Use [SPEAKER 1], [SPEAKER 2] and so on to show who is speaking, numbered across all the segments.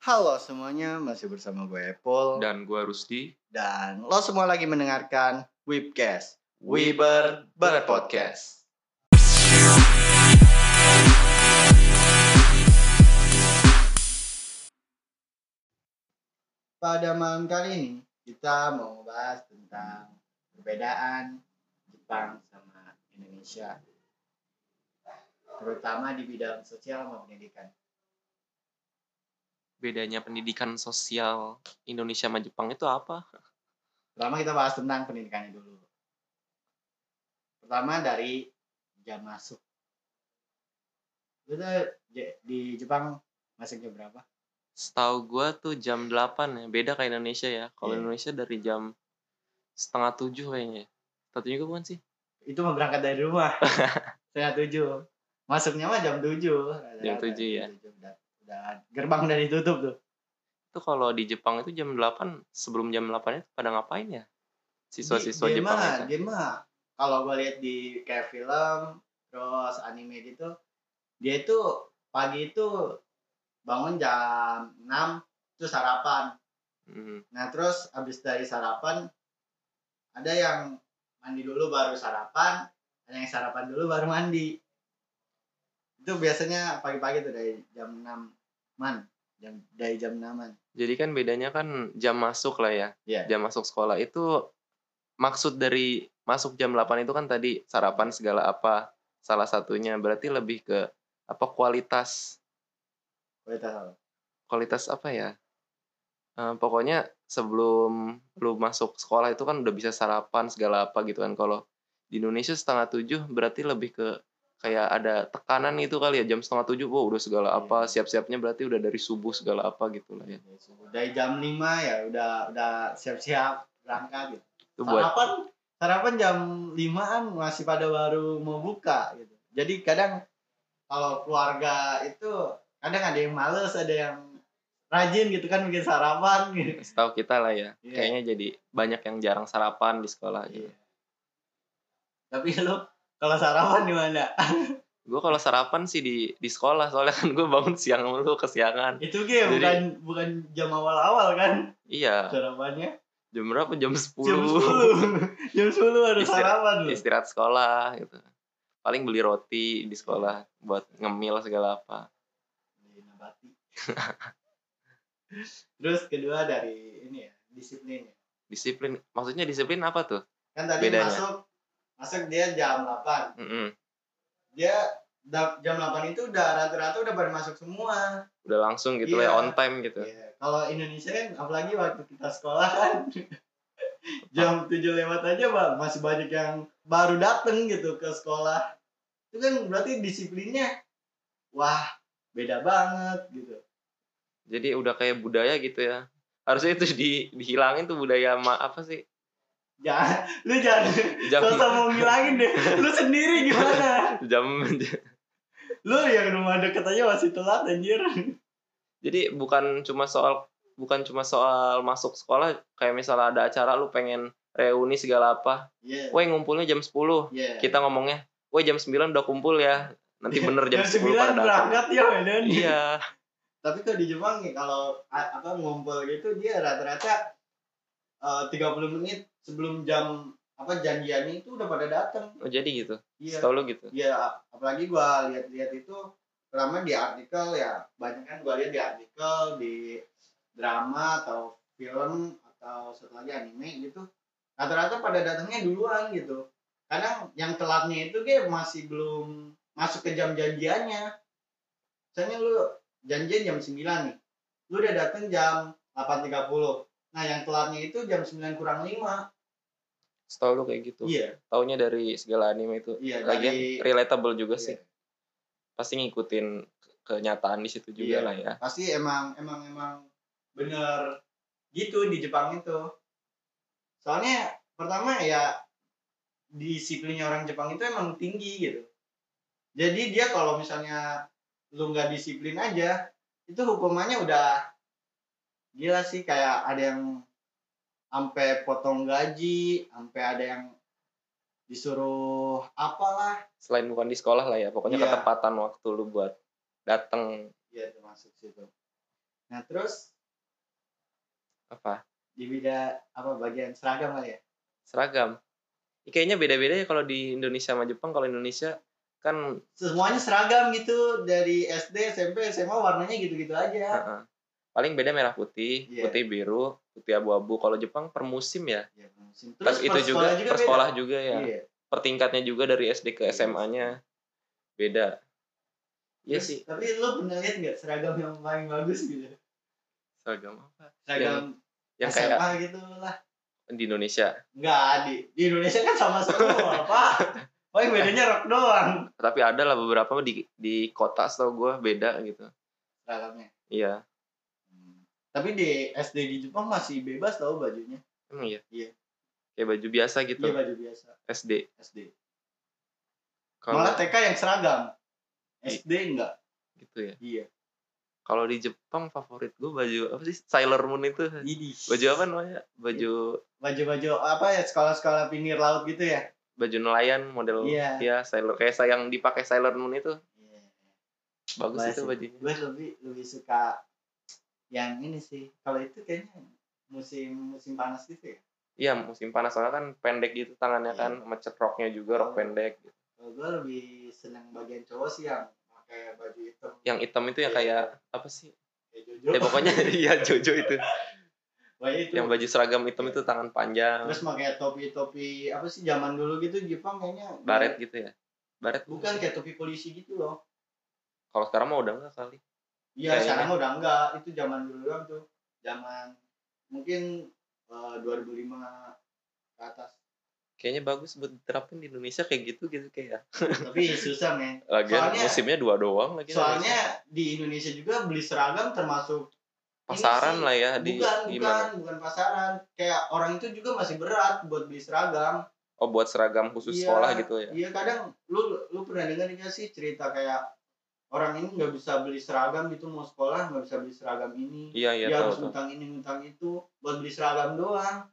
[SPEAKER 1] Halo semuanya, masih bersama gue Apple
[SPEAKER 2] dan gue Rusdi.
[SPEAKER 1] dan lo semua lagi mendengarkan Webcast
[SPEAKER 2] Weber
[SPEAKER 1] Berpodcast. Pada malam kali ini kita mau bahas tentang perbedaan Jepang sama Indonesia, terutama di bidang sosial sama pendidikan.
[SPEAKER 2] Bedanya pendidikan sosial Indonesia sama Jepang itu apa?
[SPEAKER 1] Pertama kita bahas tentang pendidikannya dulu. Pertama dari jam masuk. Lu tuh je- di Jepang masuk jam berapa?
[SPEAKER 2] Setahu gue tuh jam 8 ya, beda kayak Indonesia ya. Kalau
[SPEAKER 1] Iya.
[SPEAKER 2] Indonesia dari jam setengah tujuh kayaknya. ya. Setengah tujuh bukan sih?
[SPEAKER 1] Itu mau berangkat dari rumah. Setengah tujuh. Masuknya mah jam tujuh.
[SPEAKER 2] Jam tujuh, ya.
[SPEAKER 1] Udah, udah gerbang udah ditutup tuh.
[SPEAKER 2] Itu kalau di Jepang itu jam 8, sebelum jam 8 itu pada ngapain ya? Siswa-siswa
[SPEAKER 1] Di- dia
[SPEAKER 2] Jepang
[SPEAKER 1] mah-
[SPEAKER 2] itu.
[SPEAKER 1] dia mah kalau gue lihat di kayak film terus anime gitu dia itu pagi itu bangun jam 6 terus sarapan
[SPEAKER 2] Hmm.
[SPEAKER 1] Nah terus abis dari sarapan ada yang mandi dulu baru sarapan, ada yang sarapan dulu baru mandi. Itu biasanya pagi-pagi tuh dari jam 6 man, jam dari jam 6-an.
[SPEAKER 2] Jadi kan bedanya kan jam masuk lah ya.
[SPEAKER 1] Iya.
[SPEAKER 2] Jam masuk sekolah itu maksud dari masuk jam 8 itu kan tadi sarapan segala apa salah satunya berarti lebih ke apa kualitas
[SPEAKER 1] Kualitas apa?
[SPEAKER 2] kualitas apa ya? Eh, pokoknya sebelum lu masuk sekolah itu kan udah bisa sarapan segala apa gitu kan. Kalau di Indonesia setengah tujuh berarti lebih ke kayak ada tekanan gitu kali ya jam setengah tujuh, wow udah segala
[SPEAKER 1] Iya.
[SPEAKER 2] apa siap-siapnya berarti udah dari subuh segala apa gitu lah ya.
[SPEAKER 1] Dari jam 5 ya udah udah siap-siap berangkat gitu.
[SPEAKER 2] Itu buat
[SPEAKER 1] Sarapan sarapan jam 5-an masih pada baru mau buka gitu. Jadi kadang kalau keluarga itu kadang ada yang males, ada yang rajin gitu kan bikin sarapan gitu.
[SPEAKER 2] setahu kita lah ya.
[SPEAKER 1] Iya.
[SPEAKER 2] Kayaknya jadi banyak yang jarang sarapan di sekolah gitu.
[SPEAKER 1] Iya. Tapi lu kalau sarapan di mana?
[SPEAKER 2] Gue kalau sarapan sih di di sekolah soalnya kan gue bangun siang mulu kesiangan.
[SPEAKER 1] Itu gue
[SPEAKER 2] Jadi-
[SPEAKER 1] bukan bukan jam awal-awal kan
[SPEAKER 2] Iya,
[SPEAKER 1] sarapannya.
[SPEAKER 2] jam berapa?
[SPEAKER 1] Jam
[SPEAKER 2] Jam
[SPEAKER 1] 10.
[SPEAKER 2] 10.
[SPEAKER 1] jam 10 harus
[SPEAKER 2] Istirahat-
[SPEAKER 1] sarapan lu.
[SPEAKER 2] istirahat sekolah gitu paling beli roti di sekolah buat ngemil segala apa
[SPEAKER 1] Beli nabati. Terus kedua dari ini ya, disiplin.
[SPEAKER 2] disiplin maksudnya disiplin apa tuh
[SPEAKER 1] Kan tadi
[SPEAKER 2] Bedanya.
[SPEAKER 1] masuk masuk dia jam 8.
[SPEAKER 2] Mm-mm.
[SPEAKER 1] Dia da- jam 8 itu udah rata-rata udah pada masuk semua.
[SPEAKER 2] udah langsung gitu
[SPEAKER 1] Iya.
[SPEAKER 2] lah ya, on time gitu
[SPEAKER 1] Iya. Kalau Indonesia kan apalagi waktu kita sekolah kan jam 7 lewat aja Bang, masih banyak yang baru dateng gitu ke sekolah. Itu kan berarti disiplinnya wah, beda banget gitu.
[SPEAKER 2] jadi udah kayak budaya gitu ya harusnya itu di dihilangin tuh budaya ma apa sih
[SPEAKER 1] Jangan lu jangan
[SPEAKER 2] jam
[SPEAKER 1] sosok mau ngilangin deh. Lu sendiri gimana?
[SPEAKER 2] jam
[SPEAKER 1] Lu yang rumah deket aja masih telat anjir.
[SPEAKER 2] jadi bukan cuma soal bukan cuma soal masuk sekolah kayak misalnya ada acara lu pengen reuni segala apa
[SPEAKER 1] Iya.
[SPEAKER 2] woi ngumpulnya jam 10
[SPEAKER 1] Iya.
[SPEAKER 2] kita ngomongnya woi jam 9 udah kumpul ya nanti bener jam,
[SPEAKER 1] Jam
[SPEAKER 2] 10 pada
[SPEAKER 1] 9
[SPEAKER 2] datang
[SPEAKER 1] berangkat ya, Medan.
[SPEAKER 2] iya
[SPEAKER 1] tapi kalau di Jepang nih kalau a- apa ngumpul gitu dia rata-rata eh, 30 menit sebelum jam apa janjiannya itu udah pada datang
[SPEAKER 2] Oh jadi gitu,
[SPEAKER 1] iya
[SPEAKER 2] setahu lu gitu.
[SPEAKER 1] iya apalagi gua lihat-lihat itu terutama di artikel ya banyak kan gua lihat di artikel di drama atau film atau satu lagi anime gitu rata-rata pada datangnya duluan gitu kadang yang telatnya itu dia masih belum masuk ke jam janjiannya misalnya lu janjian jam 9 nih lu udah datang jam 8.30 nah yang telatnya itu jam 9 kurang 5
[SPEAKER 2] Setahu lu kayak gitu.
[SPEAKER 1] iya
[SPEAKER 2] Taunya dari segala anime itu.
[SPEAKER 1] iya
[SPEAKER 2] Lagian
[SPEAKER 1] dari
[SPEAKER 2] relatable juga
[SPEAKER 1] Iya.
[SPEAKER 2] sih. Pasti ngikutin ke- kenyataan di situ juga
[SPEAKER 1] Iya.
[SPEAKER 2] lah ya.
[SPEAKER 1] pasti emang emang emang bener gitu di Jepang itu soalnya pertama ya disiplinnya orang Jepang itu emang tinggi gitu jadi dia kalau misalnya lu nggak disiplin aja itu hukumannya udah gila sih kayak ada yang sampai potong gaji sampai ada yang disuruh apalah
[SPEAKER 2] Selain bukan di sekolah lah ya, pokoknya
[SPEAKER 1] Iya.
[SPEAKER 2] ketepatan waktu lu buat datang
[SPEAKER 1] ya termasuk Iya, situ Nah terus
[SPEAKER 2] apa
[SPEAKER 1] di bidang apa bagian seragam kali ya?
[SPEAKER 2] seragam Ih, kayaknya beda-beda ya kalau di Indonesia sama Jepang kalau Indonesia kan
[SPEAKER 1] Semuanya seragam gitu dari SD, SMP, SMA warnanya gitu-gitu aja.
[SPEAKER 2] heeh. paling beda merah putih
[SPEAKER 1] Ah. Iya.
[SPEAKER 2] putih biru putih abu-abu kalau Jepang per musim ya
[SPEAKER 1] Ya, per musim.
[SPEAKER 2] terus
[SPEAKER 1] per
[SPEAKER 2] itu juga, per
[SPEAKER 1] beda.
[SPEAKER 2] sekolah juga ya
[SPEAKER 1] Iya.
[SPEAKER 2] pertingkatnya juga dari SD ke
[SPEAKER 1] Iya.
[SPEAKER 2] SMA-nya beda iya
[SPEAKER 1] Terus,
[SPEAKER 2] sih
[SPEAKER 1] Tapi lu pernah lihat nggak seragam yang paling bagus gitu?
[SPEAKER 2] seragam apa
[SPEAKER 1] Seragam
[SPEAKER 2] yang
[SPEAKER 1] SMA
[SPEAKER 2] kayak
[SPEAKER 1] gitu lah.
[SPEAKER 2] di Indonesia
[SPEAKER 1] Enggak, di, di Indonesia kan sama semua, apa? Paling bedanya rok doang.
[SPEAKER 2] tapi ada lah beberapa di di kota setahu gue beda gitu
[SPEAKER 1] Seragamnya.
[SPEAKER 2] iya
[SPEAKER 1] Hmm. Tapi di SD di Jepang masih bebas tau bajunya.
[SPEAKER 2] emang iya
[SPEAKER 1] Iya.
[SPEAKER 2] kayak baju biasa gitu
[SPEAKER 1] Iya baju biasa
[SPEAKER 2] SD
[SPEAKER 1] SD.
[SPEAKER 2] kalau
[SPEAKER 1] Malah TK yang seragam. SD enggak.
[SPEAKER 2] gitu ya
[SPEAKER 1] Iya.
[SPEAKER 2] kalau di Jepang favorit gue baju apa sih Sailor Moon itu
[SPEAKER 1] Jadi
[SPEAKER 2] baju apa namanya baju
[SPEAKER 1] baju-baju apa ya sekolah-sekolah pinggir laut gitu ya?
[SPEAKER 2] baju nelayan model
[SPEAKER 1] Iya.
[SPEAKER 2] ya Sailor kayak sa- yang dipakai Sailor Moon itu
[SPEAKER 1] Iya.
[SPEAKER 2] bagus
[SPEAKER 1] Bagus
[SPEAKER 2] itu
[SPEAKER 1] sih.
[SPEAKER 2] bajunya
[SPEAKER 1] Gue lebih lebih suka yang ini sih. Kalau itu kayaknya musim musim panas gitu ya.
[SPEAKER 2] iya musim panas soalnya kan pendek gitu
[SPEAKER 1] Iya.
[SPEAKER 2] tangannya kan macet roknya juga rok
[SPEAKER 1] Oh.
[SPEAKER 2] pendek gitu.
[SPEAKER 1] Kalau gue lebih senang bagian cowok sih yang pakai baju hitam.
[SPEAKER 2] yang hitam itu yang
[SPEAKER 1] Iya.
[SPEAKER 2] kayak apa sih
[SPEAKER 1] Ya, Jojo.
[SPEAKER 2] ya pokoknya iya Jojo itu
[SPEAKER 1] Wah, itu.
[SPEAKER 2] yang baju seragam hitam itu tangan panjang
[SPEAKER 1] Terus pakai topi-topi apa sih zaman dulu gitu Jepang kayaknya
[SPEAKER 2] baret gitu ya baret
[SPEAKER 1] bukan kayak topi polisi gitu loh
[SPEAKER 2] kalau sekarang mah udah enggak kali
[SPEAKER 1] iya
[SPEAKER 2] Kayaknya.
[SPEAKER 1] sekarang mah udah enggak itu zaman dulu doang tuh zaman mungkin eh, 2005 ke atas
[SPEAKER 2] kayaknya bagus buat diterapin di Indonesia kayak gitu gitu kayak
[SPEAKER 1] tapi susah men
[SPEAKER 2] lagian
[SPEAKER 1] Soalnya-
[SPEAKER 2] musimnya dua doang lagi
[SPEAKER 1] soalnya di Indonesia juga beli seragam termasuk ini
[SPEAKER 2] pasaran
[SPEAKER 1] sih.
[SPEAKER 2] lah ya di
[SPEAKER 1] bukan bukan
[SPEAKER 2] gimana
[SPEAKER 1] bukan pasaran kayak orang itu juga masih berat buat beli seragam
[SPEAKER 2] oh buat seragam khusus
[SPEAKER 1] Iya.
[SPEAKER 2] sekolah gitu ya
[SPEAKER 1] iya kadang lu lu pernah dengar nggak sih cerita kayak orang ini nggak bisa beli seragam gitu mau sekolah nggak bisa beli seragam ini
[SPEAKER 2] iya iya
[SPEAKER 1] dia
[SPEAKER 2] tahu
[SPEAKER 1] harus
[SPEAKER 2] tahu
[SPEAKER 1] ngutang ini ngutang itu buat beli seragam doang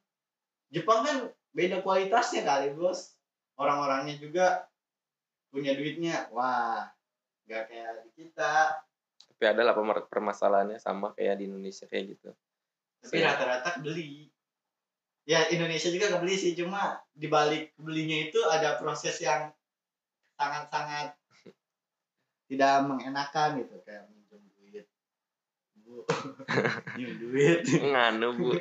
[SPEAKER 1] Jepang kan beda kualitasnya kali bos orang-orangnya juga punya duitnya wah nggak kayak di kita
[SPEAKER 2] tapi ada lah pemer- permasalahannya sama kayak di Indonesia kayak gitu
[SPEAKER 1] tapi rata-rata beli ya Indonesia juga kebeli sih cuma dibalik belinya itu ada proses yang sangat-sangat tidak mengenakan gitu kayak minjem duit bu minjem duit
[SPEAKER 2] nganu bu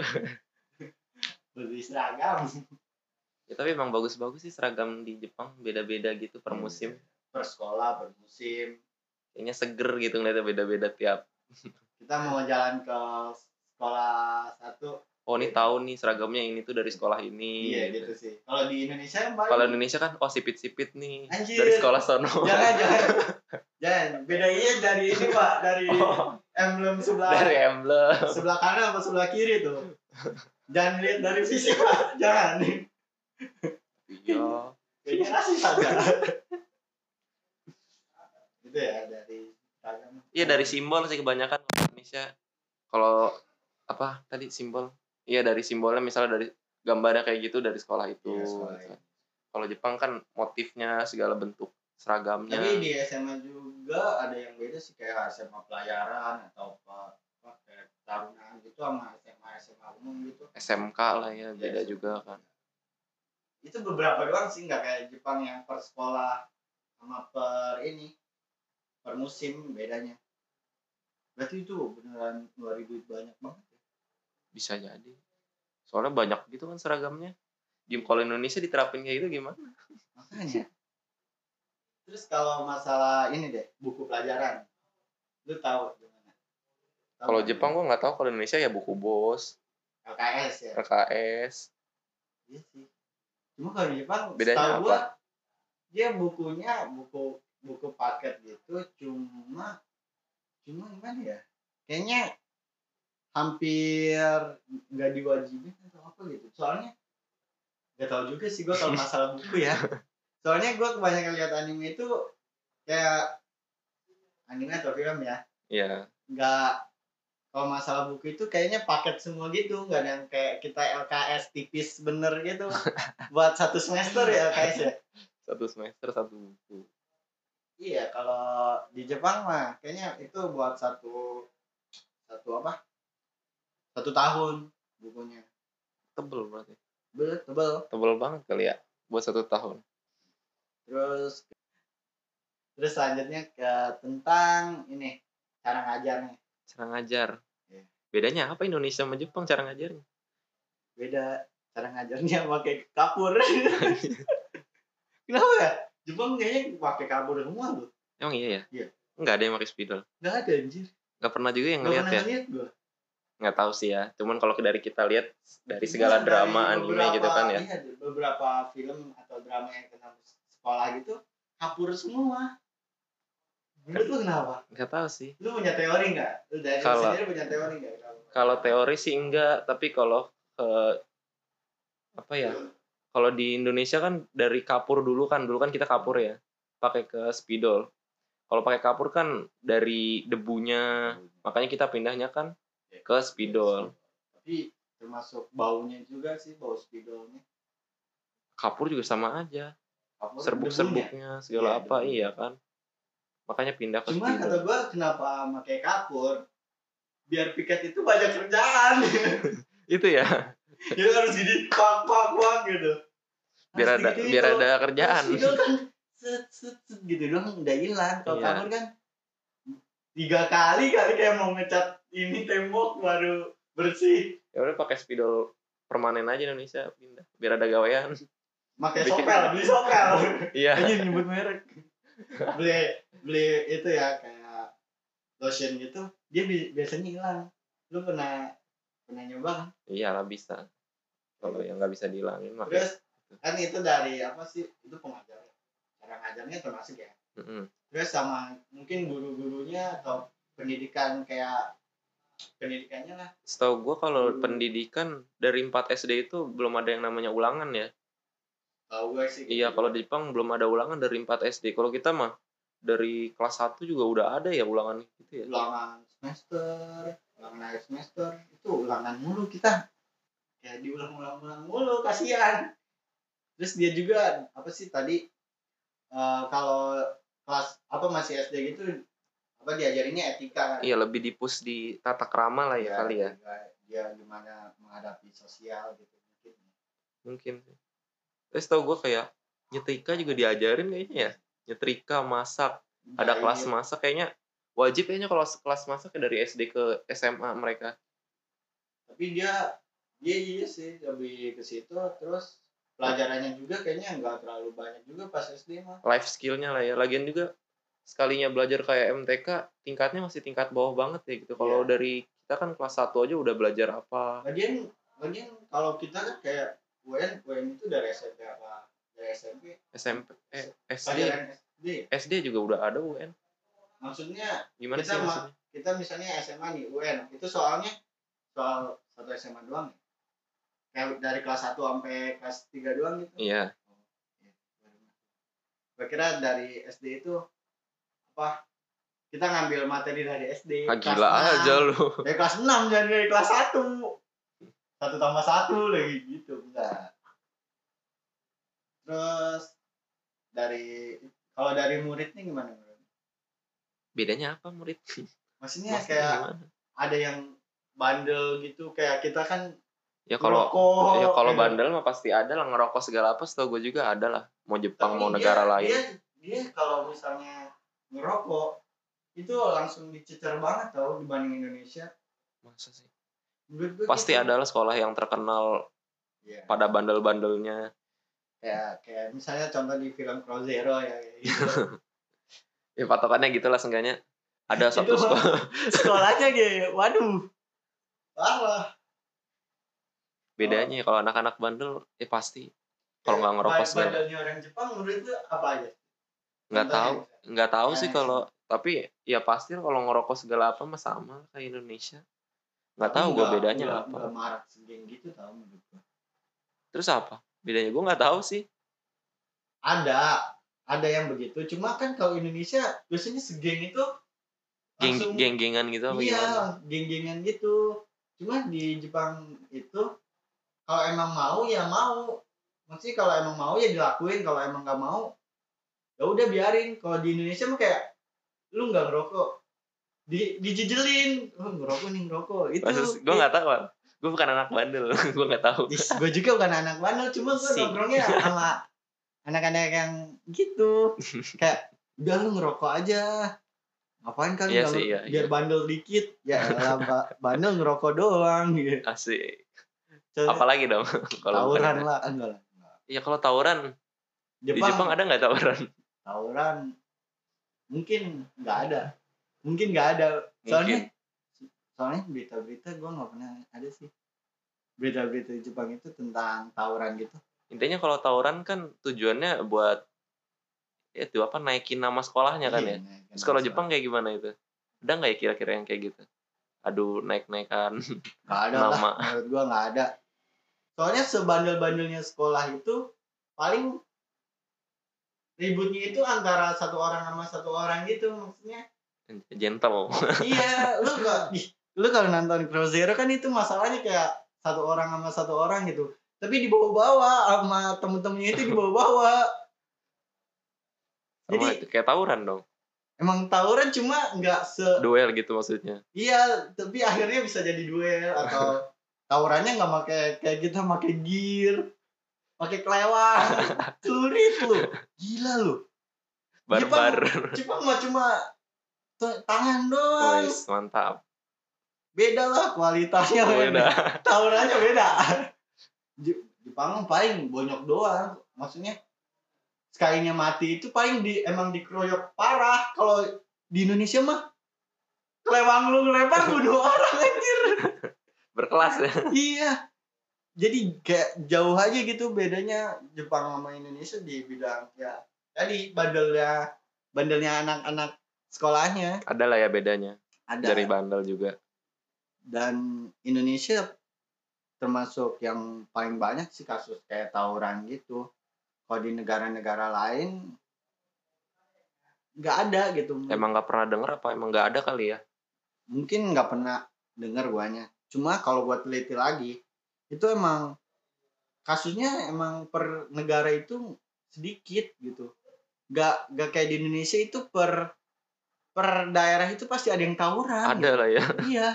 [SPEAKER 1] beli seragam
[SPEAKER 2] ya, tapi emang bagus-bagus sih seragam di Jepang beda-beda gitu per
[SPEAKER 1] Iya.
[SPEAKER 2] musim
[SPEAKER 1] per sekolah per musim
[SPEAKER 2] kayaknya seger gitu ngeliatnya beda-beda tiap
[SPEAKER 1] kita mau jalan ke sekolah satu
[SPEAKER 2] oh ini tahun nih seragamnya ini tuh dari sekolah ini
[SPEAKER 1] iya gitu sih kalau di Indonesia yang paling
[SPEAKER 2] kalau Indonesia kan oh sipit-sipit nih
[SPEAKER 1] Anjir.
[SPEAKER 2] dari sekolah sono
[SPEAKER 1] jangan jangan jangan bedanya dari ini pak dari
[SPEAKER 2] Oh,
[SPEAKER 1] emblem sebelah
[SPEAKER 2] dari emblem
[SPEAKER 1] sebelah kanan apa sebelah kiri tuh jangan lihat dari fisik pak jangan
[SPEAKER 2] iya
[SPEAKER 1] kayaknya rasis aja gitu ya dari seragam.
[SPEAKER 2] Iya dari simbol sih kebanyakan orang Indonesia. Kalau apa tadi simbol? Iya dari simbolnya misalnya dari gambarnya kayak gitu dari sekolah itu.
[SPEAKER 1] Iya, sekolah
[SPEAKER 2] gitu. Kalau Jepang kan motifnya segala bentuk seragamnya.
[SPEAKER 1] tapi di SMA juga ada yang beda sih kayak SMA pelayaran atau apa, apa kayak taruna gitu sama SMA SMA umum gitu
[SPEAKER 2] SMK lah
[SPEAKER 1] Iya,
[SPEAKER 2] ya beda
[SPEAKER 1] SMA.
[SPEAKER 2] juga kan.
[SPEAKER 1] itu beberapa doang sih nggak kayak Jepang yang per sekolah sama per ini per musim bedanya berarti itu beneran ngeluarin duit banyak banget ya.
[SPEAKER 2] Bisa jadi. Soalnya banyak gitu kan seragamnya. Di kalau Indonesia diterapin kayak gitu gimana?
[SPEAKER 1] makanya
[SPEAKER 2] Iya.
[SPEAKER 1] terus kalau masalah ini deh buku pelajaran lu tahu gimana Tahu kan?
[SPEAKER 2] Kalau
[SPEAKER 1] nggak?
[SPEAKER 2] Jepang gua nggak tahu kalau Indonesia ya buku bos,
[SPEAKER 1] LKS ya
[SPEAKER 2] RKS.
[SPEAKER 1] Iya sih. Cuma kalau di Jepang,
[SPEAKER 2] Bedanya
[SPEAKER 1] setahu
[SPEAKER 2] apa?
[SPEAKER 1] gua, dia bukunya buku buku paket gitu, cuma cuma gimana ya? Kayaknya hampir nggak diwajibin atau apa gitu. Soalnya nggak tahu juga sih gua kalau masalah buku ya. Soalnya gua kebanyakan lihat anime itu kayak anime atau film ya
[SPEAKER 2] Iya.
[SPEAKER 1] nggak kalau masalah buku itu kayaknya paket semua gitu nggak ada yang kayak kita LKS tipis bener gitu buat satu semester ya LKS ya
[SPEAKER 2] Satu semester satu buku.
[SPEAKER 1] iya kalau di Jepang mah kayaknya itu buat satu satu apa satu tahun bukunya
[SPEAKER 2] Tebel berarti.
[SPEAKER 1] Be- tebel
[SPEAKER 2] Tebel banget kali ya buat satu tahun.
[SPEAKER 1] terus terus selanjutnya ke tentang ini cara ngajarnya
[SPEAKER 2] Cara ngajar.
[SPEAKER 1] Iya.
[SPEAKER 2] Bedanya apa Indonesia sama Jepang cara ngajarnya?
[SPEAKER 1] beda cara ngajarnya pakai kapur kenapa ya Jepang kayaknya pakai kapur semua loh
[SPEAKER 2] Emang iya ya?
[SPEAKER 1] Iya.
[SPEAKER 2] Nggak ada yang pakai spidol.
[SPEAKER 1] nggak ada anjir
[SPEAKER 2] Nggak pernah juga yang
[SPEAKER 1] nggak
[SPEAKER 2] ngeliat
[SPEAKER 1] pernah
[SPEAKER 2] ya?
[SPEAKER 1] ngeliat gue
[SPEAKER 2] Nggak tahu sih ya. Cuman kalau dari kita lihat dari segala
[SPEAKER 1] Dari
[SPEAKER 2] drama anime
[SPEAKER 1] beberapa-
[SPEAKER 2] gitu kan ya.
[SPEAKER 1] iya, dari beberapa film atau drama yang tentang sekolah gitu kapur semua menurut lu kenapa
[SPEAKER 2] Nggak tahu sih.
[SPEAKER 1] lu punya teori nggak lu dari lu
[SPEAKER 2] Kalau-
[SPEAKER 1] sendiri punya teori nggak kenapa?
[SPEAKER 2] Kalau teori sih enggak, tapi kalau eh, apa ya? Kalau di Indonesia kan dari kapur dulu kan, dulu kan kita kapur ya, pakai ke spidol. Kalau pakai kapur kan dari debunya, makanya kita pindahnya kan ke spidol.
[SPEAKER 1] tapi termasuk baunya juga sih bau spidolnya
[SPEAKER 2] Kapur juga sama aja,
[SPEAKER 1] Kapur debunya.
[SPEAKER 2] serbuk-serbuknya
[SPEAKER 1] Iya,
[SPEAKER 2] segala apa
[SPEAKER 1] debunya.
[SPEAKER 2] iya kan. Makanya pindah ke
[SPEAKER 1] Cuman
[SPEAKER 2] spidol.
[SPEAKER 1] kata gua kenapa pakai kapur? Biar piket itu banyak kerjaan.
[SPEAKER 2] Itu ya,
[SPEAKER 1] Jadi harus gini pak pak pak gitu.
[SPEAKER 2] biar ada biar ada kerjaan.
[SPEAKER 1] Itu kan set, set, set gitu doang udah hilang. Kalau
[SPEAKER 2] Iya.
[SPEAKER 1] kapur kan tiga kali kali kayak mau ngecat ini tembok baru bersih.
[SPEAKER 2] Ya udah pakai spidol permanen aja Indonesia pindah, biar ada gawean.
[SPEAKER 1] Pakai
[SPEAKER 2] Bikin-
[SPEAKER 1] sopel, beli sopel.
[SPEAKER 2] Iya.
[SPEAKER 1] Aja nyebut merek. beli beli itu ya kayak lotion gitu, dia bi- biasanya hilang. Lu pernah pernah nyoba kan?
[SPEAKER 2] Iyalah bisa. Kalau yang nggak bisa dihilangin mah.
[SPEAKER 1] Terus kan itu dari apa sih? Itu pengajarnya. Cara ngajarnya termasuk ya.
[SPEAKER 2] Mm-mm.
[SPEAKER 1] Terus sama mungkin guru-gurunya atau pendidikan kayak pendidikannya lah.
[SPEAKER 2] Setahu gue kalau
[SPEAKER 1] Hmm.
[SPEAKER 2] pendidikan dari 4 SD itu belum ada yang namanya ulangan ya.
[SPEAKER 1] Kalau gue sih. gitu.
[SPEAKER 2] Iya, kalau di Jepang belum ada ulangan dari 4 SD. Kalau kita mah dari kelas 1 juga udah ada ya ulangan gitu ya.
[SPEAKER 1] ulangan semester, ulangan akhir semester itu ulangan mulu kita. Ya diulang-ulang-ulang mulu kasihan. Terus dia juga apa sih tadi eh, kalau kelas apa masih SD gitu apa diajarinnya etika kan?
[SPEAKER 2] Iya, lebih dipus di tata krama lah ya
[SPEAKER 1] Iya,
[SPEAKER 2] kali ya.
[SPEAKER 1] juga dia gimana menghadapi sosial gitu mungkin
[SPEAKER 2] Mungkin. Terus setahu gue kayak nyetrika juga diajarin kayaknya ya. Nyetrika, masak. Ada
[SPEAKER 1] Dari-
[SPEAKER 2] kelas masak kayaknya wajib kayaknya kalau kelas masak ya dari SD ke SMA mereka.
[SPEAKER 1] tapi dia dia iya sih lebih ke situ terus pelajarannya juga kayaknya nggak terlalu banyak juga pas SD mah
[SPEAKER 2] life skillnya lah ya lagian juga sekalinya belajar kayak MTK tingkatnya masih tingkat bawah banget ya gitu kalau
[SPEAKER 1] Iya.
[SPEAKER 2] dari kita kan kelas 1 aja udah belajar apa
[SPEAKER 1] bagian bagian kalau kita kan kayak UN UN itu dari SMP apa dari SMP
[SPEAKER 2] SMP eh, SD
[SPEAKER 1] pelajaran SD
[SPEAKER 2] SD juga udah ada UN
[SPEAKER 1] maksudnya
[SPEAKER 2] gimana
[SPEAKER 1] Kita
[SPEAKER 2] sih
[SPEAKER 1] mah-
[SPEAKER 2] maksudnya
[SPEAKER 1] kita misalnya SMA nih UN itu soalnya soal satu SMA doang ya kayak dari kelas 1 sampai kelas 3 doang gitu
[SPEAKER 2] iya
[SPEAKER 1] gue kira dari SD itu apa kita ngambil materi dari SD
[SPEAKER 2] ah,
[SPEAKER 1] kelas
[SPEAKER 2] gila
[SPEAKER 1] enam.
[SPEAKER 2] aja lu
[SPEAKER 1] dari kelas 6 jangan dari kelas 1 satu tambah satu lagi gitu enggak terus dari kalau dari muridnya gimana
[SPEAKER 2] bedanya apa murid
[SPEAKER 1] maksudnya
[SPEAKER 2] Maksudnya
[SPEAKER 1] Iya, kayak
[SPEAKER 2] gimana?
[SPEAKER 1] ada yang bandel gitu kayak kita kan
[SPEAKER 2] ya kalau
[SPEAKER 1] ngerokok,
[SPEAKER 2] ya kalau
[SPEAKER 1] gitu.
[SPEAKER 2] bandel mah pasti ada lah ngerokok segala apa setahu gue juga ada lah mau Jepang
[SPEAKER 1] Tapi
[SPEAKER 2] mau
[SPEAKER 1] dia-
[SPEAKER 2] negara lain
[SPEAKER 1] dia, dia kalau misalnya ngerokok itu langsung dicecer banget tau dibanding Indonesia
[SPEAKER 2] Masa sih?
[SPEAKER 1] Menurut gua
[SPEAKER 2] pasti
[SPEAKER 1] gitu.
[SPEAKER 2] ada lah sekolah yang terkenal
[SPEAKER 1] Iya.
[SPEAKER 2] pada bandel-bandelnya
[SPEAKER 1] kayak kayak misalnya contoh di film Crow Zero ya kayak gitu.
[SPEAKER 2] ya patokannya gitulah seenggaknya ada
[SPEAKER 1] Itu
[SPEAKER 2] satu
[SPEAKER 1] mah-
[SPEAKER 2] sekolah
[SPEAKER 1] sekolahnya kayak waduh parah
[SPEAKER 2] bedanya ya, kalau anak-anak bandel ya pasti kalau nggak ngerokok
[SPEAKER 1] Ba-
[SPEAKER 2] segala
[SPEAKER 1] bandelnya orang Jepang menurut itu apa aja
[SPEAKER 2] nggak
[SPEAKER 1] Contohnya
[SPEAKER 2] tahu nggak tahu sih
[SPEAKER 1] Eh.
[SPEAKER 2] kalau tapi ya pasti kalau ngerokok segala apa mah sama kayak Indonesia nggak
[SPEAKER 1] Tapi
[SPEAKER 2] tahu gue
[SPEAKER 1] nggak-
[SPEAKER 2] bedanya
[SPEAKER 1] nggak-
[SPEAKER 2] apa
[SPEAKER 1] nggak marak segeng gitu tau menurut gua
[SPEAKER 2] terus apa bedanya gue nggak tahu sih
[SPEAKER 1] ada ada yang begitu cuma kan kalau Indonesia biasanya segeng itu
[SPEAKER 2] geng
[SPEAKER 1] langsung
[SPEAKER 2] geng-gengan gitu apa
[SPEAKER 1] iya
[SPEAKER 2] gimana
[SPEAKER 1] geng-gengan gitu cuma di Jepang itu kalau emang mau ya mau mesti kalau emang mau ya dilakuin kalau emang nggak mau ya udah biarin kalau di Indonesia mah kayak lu nggak ngerokok di dijejelin oh, ngerokok nih ngerokok itu
[SPEAKER 2] Maksud gue nggak tahu, gue bukan anak bandel, gue nggak tahu.
[SPEAKER 1] gue juga bukan anak bandel cuma gue
[SPEAKER 2] Sih.
[SPEAKER 1] nongkrongnya sama anak-anak yang gitu kayak udah lu ngerokok aja ngapain kan
[SPEAKER 2] Iya
[SPEAKER 1] kalau
[SPEAKER 2] sih, iya,
[SPEAKER 1] biar bandel dikit ya elah, ba- bandel ngerokok doang gitu
[SPEAKER 2] Asik.
[SPEAKER 1] Terus
[SPEAKER 2] Apalagi dong kalau bukan
[SPEAKER 1] tawuran Iya,
[SPEAKER 2] anak.
[SPEAKER 1] lah enggak lah
[SPEAKER 2] Ya kalau tawuran di Jepang ada nggak tawuran?
[SPEAKER 1] tawuran mungkin nggak ada mungkin nggak ada soalnya soalnya berita-berita gue nggak pernah ada sih berita-berita di Jepang itu tentang tawuran gitu
[SPEAKER 2] intinya kalau tawuran kan tujuannya buat ya itu apa naikin nama sekolahnya kan
[SPEAKER 1] Iya,
[SPEAKER 2] ya.
[SPEAKER 1] naik-
[SPEAKER 2] Terus kalau
[SPEAKER 1] naik-
[SPEAKER 2] Jepang kayak gimana itu? Ada nggak ya kira-kira yang kayak gitu? Aduh naik-naikan
[SPEAKER 1] nggak ada lah
[SPEAKER 2] nama.
[SPEAKER 1] menurut gua nggak ada soalnya sebandel-bandelnya sekolah itu paling ributnya itu antara satu orang sama satu orang gitu maksudnya
[SPEAKER 2] Gentle.
[SPEAKER 1] iya lu gak lu kalau nonton Crow Zero kan itu masalahnya kayak satu orang sama satu orang gitu tapi dibawa-bawa sama temen-temennya itu dibawa-bawa
[SPEAKER 2] Sama
[SPEAKER 1] Jadi-
[SPEAKER 2] itu kayak tawuran dong.
[SPEAKER 1] emang tawuran cuma nggak se
[SPEAKER 2] Duel gitu maksudnya.
[SPEAKER 1] iya tapi akhirnya bisa jadi duel atau tawurannya nggak pakai kayak kita pakai gear pakai kelewat celurit lu gila lu
[SPEAKER 2] Barbar.
[SPEAKER 1] cuma mah cuma t- tangan doang
[SPEAKER 2] Wes, mantap.
[SPEAKER 1] beda lah kualitasnya
[SPEAKER 2] Beda.
[SPEAKER 1] tawurannya beda Je- Jepang mah paling bonyok doang maksudnya sekalinya mati itu paling di emang dikeroyok parah kalau di Indonesia mah kelewang lu ngelempar bunuh orang anjir
[SPEAKER 2] Berkelas ya.
[SPEAKER 1] iya jadi kayak jauh aja gitu bedanya Jepang sama Indonesia di bidang ya tadi bandelnya bandelnya anak-anak sekolahnya
[SPEAKER 2] Ada lah ya bedanya.
[SPEAKER 1] ada ya.
[SPEAKER 2] Dari bandel juga.
[SPEAKER 1] dan Indonesia termasuk yang paling banyak sih kasus kayak tawuran gitu kalau di negara-negara lain nggak ada gitu M-
[SPEAKER 2] Emang nggak pernah denger apa emang nggak ada kali ya?
[SPEAKER 1] mungkin nggak pernah dengar guanya cuma kalau gua teliti lagi itu emang kasusnya emang per negara itu sedikit gitu nggak nggak kayak di Indonesia itu per per daerah itu pasti ada yang tawuran
[SPEAKER 2] Ada lah ya.
[SPEAKER 1] iya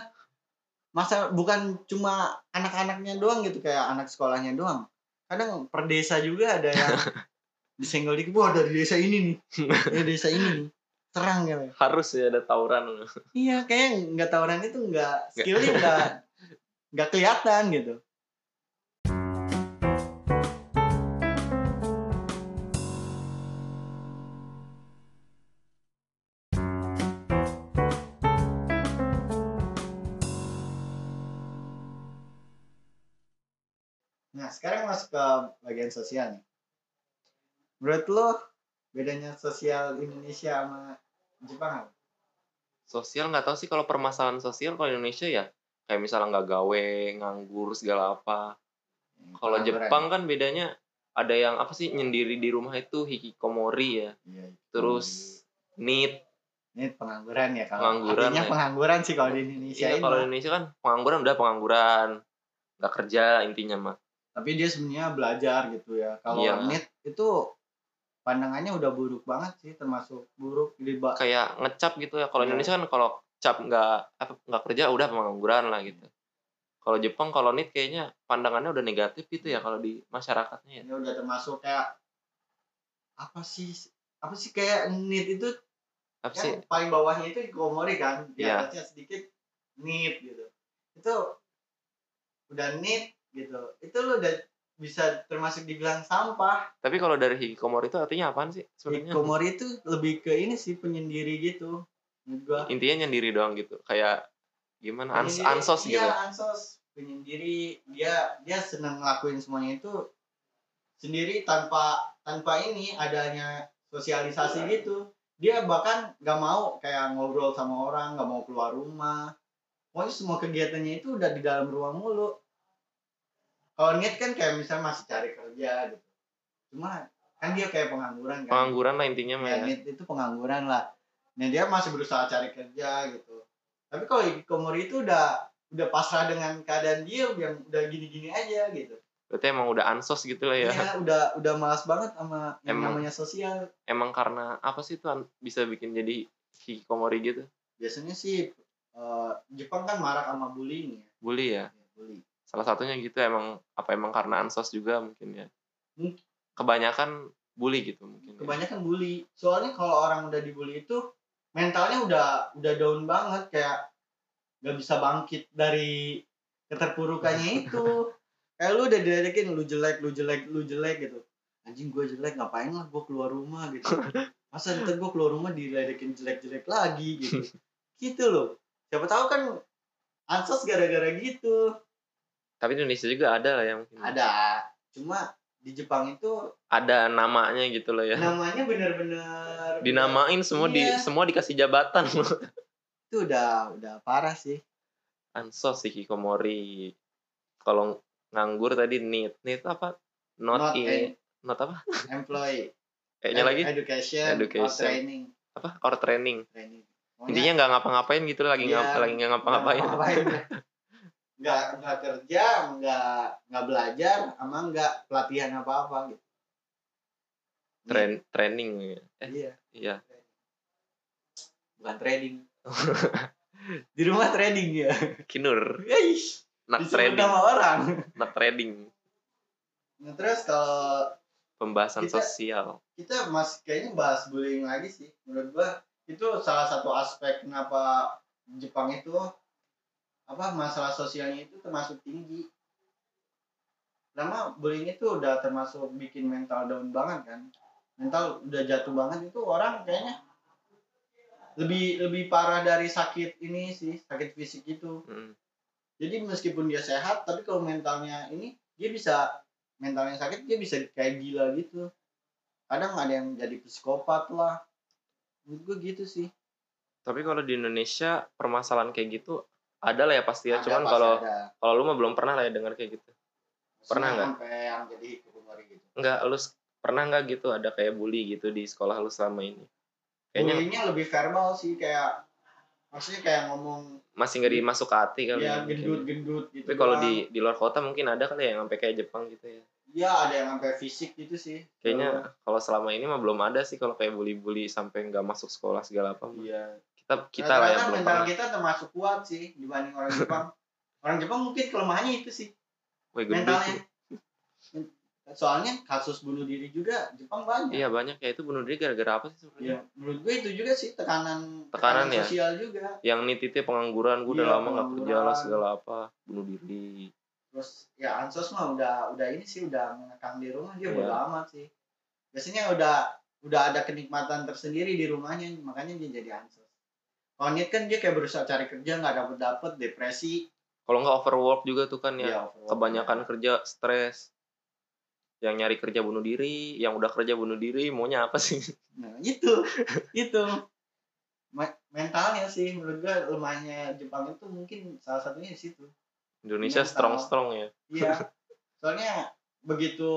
[SPEAKER 1] masa bukan cuma anak-anaknya doang gitu kayak anak sekolahnya doang kadang per desa juga ada yang disenggol dikit wah dari desa ini nih dari desa ini nih terang ya Pak."
[SPEAKER 2] Harus ya ada tawuran.
[SPEAKER 1] iya kayak nggak tawuran itu nggak skillnya nggak nggak kelihatan gitu Nah, sekarang masuk ke bagian sosial nih. Menurut lo, bedanya sosial Indonesia sama Jepang apa?
[SPEAKER 2] Sosial nggak tahu sih kalau permasalahan sosial kalau Indonesia ya kayak misalnya nggak gawe, nganggur segala apa. Kalau
[SPEAKER 1] Pengangguran.
[SPEAKER 2] Jepang kan bedanya ada yang apa sih nyendiri di rumah itu hikikomori ya.
[SPEAKER 1] Iya, itu.
[SPEAKER 2] Terus nit.
[SPEAKER 1] ini pengangguran ya kalau
[SPEAKER 2] Pengangguran
[SPEAKER 1] artinya
[SPEAKER 2] ya.
[SPEAKER 1] pengangguran sih kalau di Indonesia
[SPEAKER 2] Iya
[SPEAKER 1] ini.
[SPEAKER 2] kalau Indonesia kan pengangguran udah pengangguran. Nggak kerja intinya mah.
[SPEAKER 1] Tapi dia sebenarnya belajar gitu ya. Kalau
[SPEAKER 2] Iya.
[SPEAKER 1] NIT itu pandangannya udah buruk banget sih termasuk buruk di ba-
[SPEAKER 2] Kayak ngecap gitu ya. Kalau
[SPEAKER 1] Iya.
[SPEAKER 2] Indonesia kan kalau cap nggak apa nggak kerja udah pengangguran lah gitu. Kalau Jepang kalau nit kayaknya pandangannya udah negatif gitu ya
[SPEAKER 1] Hmm.
[SPEAKER 2] kalau di masyarakatnya ya.
[SPEAKER 1] ini udah termasuk kayak apa sih apa sih kayak NIT itu
[SPEAKER 2] Apa sih?
[SPEAKER 1] kan paling bawahnya itu hikikomori kan di
[SPEAKER 2] Iya.
[SPEAKER 1] atasnya sedikit nit gitu itu udah nit gitu itu lo udah bisa termasuk dibilang sampah
[SPEAKER 2] Tapi kalau dari hikikomori itu artinya apaan sih sebenarnya?
[SPEAKER 1] hikikomori itu lebih ke ini sih penyendiri gitu menurut gua
[SPEAKER 2] Intinya nyendiri doang gitu. Kayak gimana? Iya, Ans-
[SPEAKER 1] Penyendiri,
[SPEAKER 2] ansos gitu.
[SPEAKER 1] iya ansos penyendiri dia dia senang ngelakuin semuanya itu sendiri tanpa tanpa ini adanya sosialisasi
[SPEAKER 2] Iya.
[SPEAKER 1] gitu dia bahkan nggak mau kayak ngobrol sama orang nggak mau keluar rumah pokoknya semua kegiatannya itu udah di dalam rumah mulu kalau niat kan kayak misalnya masih cari kerja gitu cuma kan dia kayak pengangguran kan
[SPEAKER 2] Pengangguran lah intinya mah.
[SPEAKER 1] ya,
[SPEAKER 2] ya.
[SPEAKER 1] Nit itu pengangguran lah. Nah dia masih berusaha cari kerja gitu. Tapi kalau hikikomori itu udah udah pasrah dengan keadaan dia yang udah gini-gini aja gitu.
[SPEAKER 2] Berarti emang udah ansos gitu lah ya.
[SPEAKER 1] Iya udah udah malas banget sama yang
[SPEAKER 2] Emang.
[SPEAKER 1] namanya sosial.
[SPEAKER 2] Emang karena apa sih tuh an- bisa bikin jadi hikikomori gitu?
[SPEAKER 1] biasanya sih eh, Jepang kan marak sama bullying ya,
[SPEAKER 2] bully ya
[SPEAKER 1] ya bully.
[SPEAKER 2] salah satunya gitu emang apa emang karena ansos juga mungkin ya
[SPEAKER 1] Mungkin.
[SPEAKER 2] kebanyakan bully gitu mungkin ya.
[SPEAKER 1] Hmm. Kebanyakan bully. Soalnya kalau orang udah dibully itu mentalnya udah udah down banget kayak nggak bisa bangkit dari keterpurukannya itu. kayak lu udah diledekin lu jelek, lu jelek, lu jelek gitu. Anjing gue jelek, ngapain lah gue keluar rumah gitu. Masa ntar gue keluar rumah diledekin jelek-jelek lagi gitu. gitu loh. Siapa tahu kan ansos gara-gara gitu.
[SPEAKER 2] tapi di Indonesia juga ada lah yang mungkin ya.
[SPEAKER 1] ada cuma di Jepang itu
[SPEAKER 2] ada namanya gitu loh ya
[SPEAKER 1] namanya bener-bener
[SPEAKER 2] dinamain semua
[SPEAKER 1] Nah, Iya.
[SPEAKER 2] di semua dikasih jabatan loh
[SPEAKER 1] itu udah udah parah sih
[SPEAKER 2] ansos hikikomori kalau nganggur tadi need need apa not, in
[SPEAKER 1] en-
[SPEAKER 2] not apa
[SPEAKER 1] employee
[SPEAKER 2] kayaknya
[SPEAKER 1] Ed-
[SPEAKER 2] lagi
[SPEAKER 1] education, or
[SPEAKER 2] Education.
[SPEAKER 1] training
[SPEAKER 2] apa or training
[SPEAKER 1] training
[SPEAKER 2] intinya ya? nggak ngapa-ngapain gitu lagi
[SPEAKER 1] Iya.
[SPEAKER 2] ngapa lagi nggak ngapa-ngapain
[SPEAKER 1] nggak nggak kerja nggak nggak belajar sama nggak pelatihan apa apa gitu
[SPEAKER 2] Tren, training ya. eh
[SPEAKER 1] iya
[SPEAKER 2] iya
[SPEAKER 1] bukan trading di rumah trading ya
[SPEAKER 2] kinur
[SPEAKER 1] Eish,
[SPEAKER 2] nak
[SPEAKER 1] disuruh
[SPEAKER 2] trading
[SPEAKER 1] sama orang
[SPEAKER 2] nak trading
[SPEAKER 1] nah, terus kalau
[SPEAKER 2] pembahasan
[SPEAKER 1] Kita-
[SPEAKER 2] sosial
[SPEAKER 1] kita masih kayaknya bahas bullying lagi sih menurut gua itu salah satu aspek kenapa Jepang itu apa masalah sosialnya itu termasuk tinggi karena bullying itu udah termasuk bikin mental down banget kan mental udah jatuh banget itu orang kayaknya lebih lebih parah dari sakit ini sih sakit fisik itu
[SPEAKER 2] Mm.
[SPEAKER 1] jadi meskipun dia sehat tapi kalau mentalnya ini dia bisa mentalnya sakit dia bisa kayak gila gitu kadang ada yang jadi psikopat lah menurut gue gitu sih
[SPEAKER 2] tapi kalau di Indonesia permasalahan kayak gitu ada lah ya pasti ya
[SPEAKER 1] Ada,
[SPEAKER 2] cuman
[SPEAKER 1] pasti
[SPEAKER 2] kalau
[SPEAKER 1] ada.
[SPEAKER 2] kalau lu mah belum pernah lah ya dengar kayak gitu pernah
[SPEAKER 1] Maksudnya
[SPEAKER 2] nggak?
[SPEAKER 1] sampai yang jadi hikikomori gitu
[SPEAKER 2] nggak lu s- pernah nggak gitu ada kayak bully gitu di sekolah lu selama ini kayaknya
[SPEAKER 1] bullyingnya lebih verbal sih kayak maksudnya kayak ngomong
[SPEAKER 2] masih nggak dimasuk ke hati kali
[SPEAKER 1] ya
[SPEAKER 2] ya, mungkin.
[SPEAKER 1] gendut gendut gitu
[SPEAKER 2] tapi kalau
[SPEAKER 1] doang.
[SPEAKER 2] di di luar kota mungkin ada kali ya yang sampai kayak Jepang gitu ya
[SPEAKER 1] ya ada yang sampai fisik gitu sih
[SPEAKER 2] kayaknya kalau selama ini mah belum ada sih kalau kayak bully-bully sampai nggak masuk sekolah segala apa
[SPEAKER 1] iya
[SPEAKER 2] kita Oh, kita lah yang
[SPEAKER 1] Rata-rata
[SPEAKER 2] belum
[SPEAKER 1] mental
[SPEAKER 2] pernah
[SPEAKER 1] kita termasuk kuat sih dibanding orang Jepang orang Jepang mungkin kelemahannya itu sih
[SPEAKER 2] Woi, gendut
[SPEAKER 1] mentalnya. kan
[SPEAKER 2] tuh.
[SPEAKER 1] Soalnya kasus bunuh diri juga Jepang banyak.
[SPEAKER 2] iya banyak ya itu bunuh diri gara-gara apa sih sebenarnya
[SPEAKER 1] Ya, menurut gue itu juga sih tekanan
[SPEAKER 2] Tekanan ya?
[SPEAKER 1] sosial juga.
[SPEAKER 2] yang nititnya pengangguran gue udah
[SPEAKER 1] Iya,
[SPEAKER 2] lama nggak kerja lah
[SPEAKER 1] pengangguran.
[SPEAKER 2] segala apa bunuh diri
[SPEAKER 1] Terus ya ansos mah udah udah ini sih udah mengekang di rumah dia
[SPEAKER 2] Iya.
[SPEAKER 1] bodo amat sih. Biasanya udah udah ada kenikmatan tersendiri di rumahnya makanya dia jadi ansos. Kalau Nit kan dia kayak berusaha cari kerja nggak dapet dapet depresi.
[SPEAKER 2] kalau nggak overwork juga tuh kan ya
[SPEAKER 1] dia Iya, overwork.
[SPEAKER 2] kebanyakan kerja stres yang nyari kerja bunuh diri yang udah kerja bunuh diri maunya apa sih
[SPEAKER 1] Nah, itu itu Ma- mentalnya sih menurut gue lemahnya Jepang itu mungkin salah satunya di situ.
[SPEAKER 2] Indonesia
[SPEAKER 1] Mental.
[SPEAKER 2] strong strong ya
[SPEAKER 1] Iya. Soalnya begitu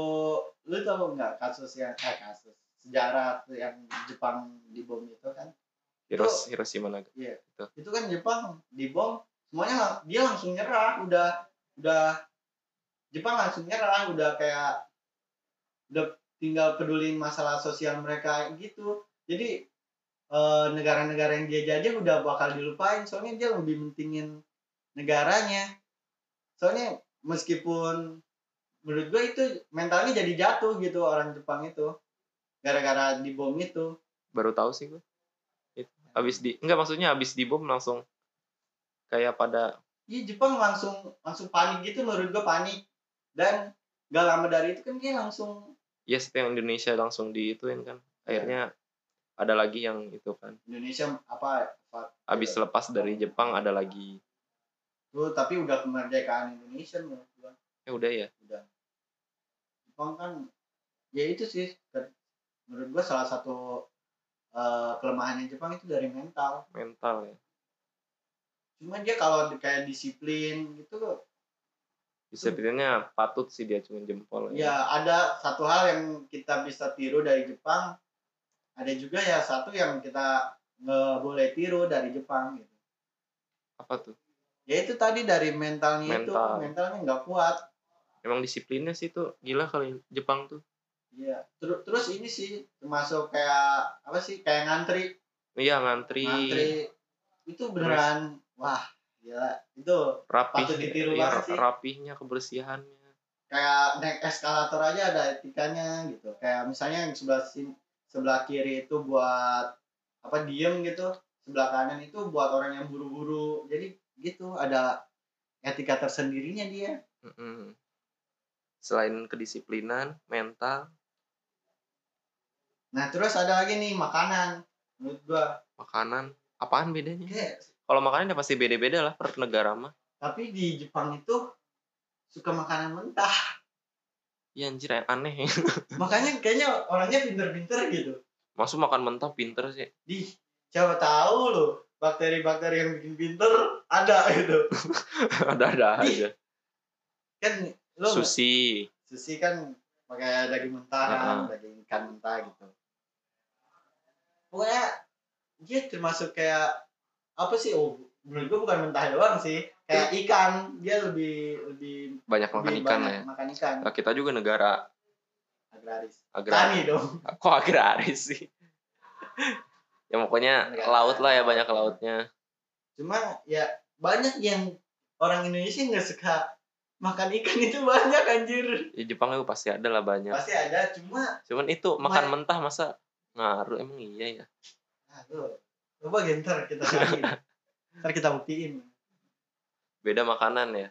[SPEAKER 1] lu tahu nggak kasus yang eh, kasus sejarah tuh yang Jepang dibom itu kan?
[SPEAKER 2] Hiros Hiroshima Naga
[SPEAKER 1] Itu kan Jepang dibom semuanya lang- dia langsung nyerah udah udah Jepang langsung nyerah udah kayak udah tinggal peduliin masalah sosial mereka gitu. Jadi eh, negara-negara yang dia jajah udah bakal dilupain soalnya dia lebih mentingin negaranya. Soalnya meskipun menurut gue itu mentalnya jadi jatuh gitu orang Jepang itu gara-gara dibom itu
[SPEAKER 2] baru tahu sih gue Itu. abis di enggak maksudnya abis dibom langsung kayak pada
[SPEAKER 1] iya Jepang langsung langsung panik gitu menurut gue panik dan gak lama dari itu kan dia langsung
[SPEAKER 2] yes ya yang Indonesia langsung diituin kan
[SPEAKER 1] Iya.
[SPEAKER 2] akhirnya ada lagi yang itu kan
[SPEAKER 1] Indonesia apa apa
[SPEAKER 2] abis lepas dari Jepang ada lagi
[SPEAKER 1] tuh tapi udah kemerdekaan Indonesia menurut gue
[SPEAKER 2] ya udah ya
[SPEAKER 1] Jepang kan ya itu sih ke- menurut gue salah satu eh, kelemahannya Jepang itu dari mental
[SPEAKER 2] mental ya
[SPEAKER 1] cuma dia kalau kayak disiplin gitu
[SPEAKER 2] disiplinnya patut sih dia cuma jempol
[SPEAKER 1] Ya, ada satu hal yang kita bisa tiru dari Jepang. Ada juga ya satu yang kita nggak boleh tiru dari Jepang gitu.
[SPEAKER 2] apa tuh
[SPEAKER 1] Ya itu tadi dari mentalnya itu,
[SPEAKER 2] Mental.
[SPEAKER 1] mentalnya nggak kuat.
[SPEAKER 2] emang disiplinnya sih tuh gila kali Jepang tuh
[SPEAKER 1] Iya. Terus terus ini sih termasuk kayak apa sih? Kayak ngantri,
[SPEAKER 2] iya ngantri
[SPEAKER 1] ngantri itu beneran wah gila itu
[SPEAKER 2] rapih
[SPEAKER 1] Patut ditiru
[SPEAKER 2] ya,
[SPEAKER 1] banget sih.
[SPEAKER 2] rapihnya kebersihannya
[SPEAKER 1] kayak naik eskalator aja ada etikanya gitu kayak misalnya yang sebelah sin- sebelah kiri itu buat apa diem gitu sebelah kanan itu buat orang yang buru-buru jadi gitu ada etika tersendirinya dia
[SPEAKER 2] Mm-mm. selain kedisiplinan mental
[SPEAKER 1] nah terus ada lagi nih makanan menurut gua
[SPEAKER 2] makanan apaan bedanya
[SPEAKER 1] kayak
[SPEAKER 2] kalau makanan ya pasti beda-beda lah per negara mah
[SPEAKER 1] tapi di Jepang itu suka makanan mentah
[SPEAKER 2] ya anjir aneh
[SPEAKER 1] makanya kayaknya orangnya pinter-pinter gitu
[SPEAKER 2] maksud makan mentah pinter sih
[SPEAKER 1] di siapa tahu loh bakteri-bakteri yang bikin pinter ada gitu
[SPEAKER 2] ada-ada aja
[SPEAKER 1] kan lo
[SPEAKER 2] sushi
[SPEAKER 1] sushi kan pakai daging mentah
[SPEAKER 2] Ah,
[SPEAKER 1] kan, daging ikan mentah gitu. Pokoknya dia termasuk kayak apa sih? Oh, menurut gua bukan mentah doang sih, kayak ikan dia lebih lebih
[SPEAKER 2] banyak Iya. makan
[SPEAKER 1] lebih
[SPEAKER 2] ikan
[SPEAKER 1] banyak
[SPEAKER 2] ya
[SPEAKER 1] makan ikan
[SPEAKER 2] Nah, kita juga negara
[SPEAKER 1] agraris.
[SPEAKER 2] agraris
[SPEAKER 1] Tani dong.
[SPEAKER 2] kok agraris sih ya pokoknya
[SPEAKER 1] Negara.
[SPEAKER 2] laut lah ya banyak lautnya
[SPEAKER 1] Cuma ya banyak yang orang Indonesia nggak suka makan ikan itu banyak anjir.
[SPEAKER 2] ya, Jepang itu pasti ada lah banyak
[SPEAKER 1] Pasti ada, cuma
[SPEAKER 2] cuman itu makan
[SPEAKER 1] Lumayan.
[SPEAKER 2] mentah masa ngaruh emang iya ya
[SPEAKER 1] aduh, ah, coba gentar kita cari. Ntar kita buktiin.
[SPEAKER 2] beda makanan ya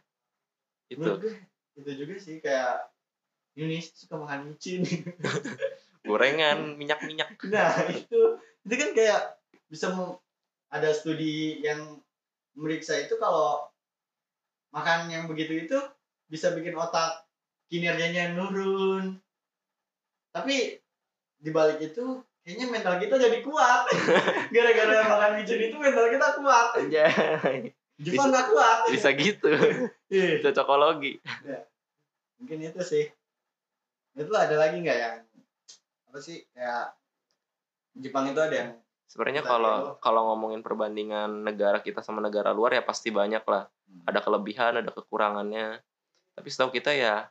[SPEAKER 2] itu
[SPEAKER 1] Menurut gue, itu juga sih kayak Indonesia suka makan micin
[SPEAKER 2] gorengan minyak minyak
[SPEAKER 1] nah itu itu kan kayak bisa mem- ada studi yang meriksa itu kalau makan yang begitu itu bisa bikin otak kinerjanya nurun tapi dibalik itu kayaknya mental kita jadi kuat gara-gara makan micin itu mental kita kuat
[SPEAKER 2] aja
[SPEAKER 1] Jepang nggak kuat
[SPEAKER 2] bisa gitu
[SPEAKER 1] Ih.
[SPEAKER 2] cocokologi
[SPEAKER 1] mungkin itu sih itu ada lagi nggak yang apa sih kayak Jepang itu ada yang
[SPEAKER 2] sebenarnya
[SPEAKER 1] Kita
[SPEAKER 2] kalau kalau ngomongin perbandingan negara kita sama negara luar ya pasti banyak lah ada kelebihan ada kekurangannya tapi setahu kita ya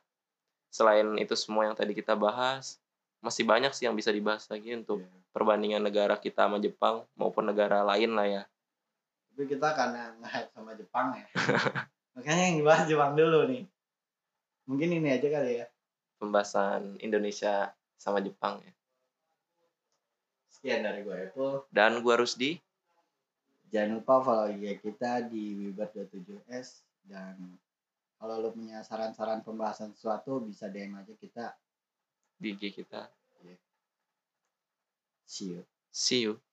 [SPEAKER 2] selain itu semua yang tadi kita bahas masih banyak sih yang bisa dibahas lagi untuk
[SPEAKER 1] Iya.
[SPEAKER 2] perbandingan negara kita sama Jepang maupun negara lain lah ya
[SPEAKER 1] tapi kita karena nge sama Jepang ya makanya yang dibahas Jepang dulu nih mungkin ini aja kali ya
[SPEAKER 2] pembahasan Indonesia sama Jepang ya
[SPEAKER 1] sekian dari gue Apple
[SPEAKER 2] dan gua Rusdi
[SPEAKER 1] jangan lupa follow IG kita di wiber27s dan kalau lo punya saran-saran pembahasan sesuatu bisa DM aja kita
[SPEAKER 2] di IG kita
[SPEAKER 1] see you
[SPEAKER 2] see you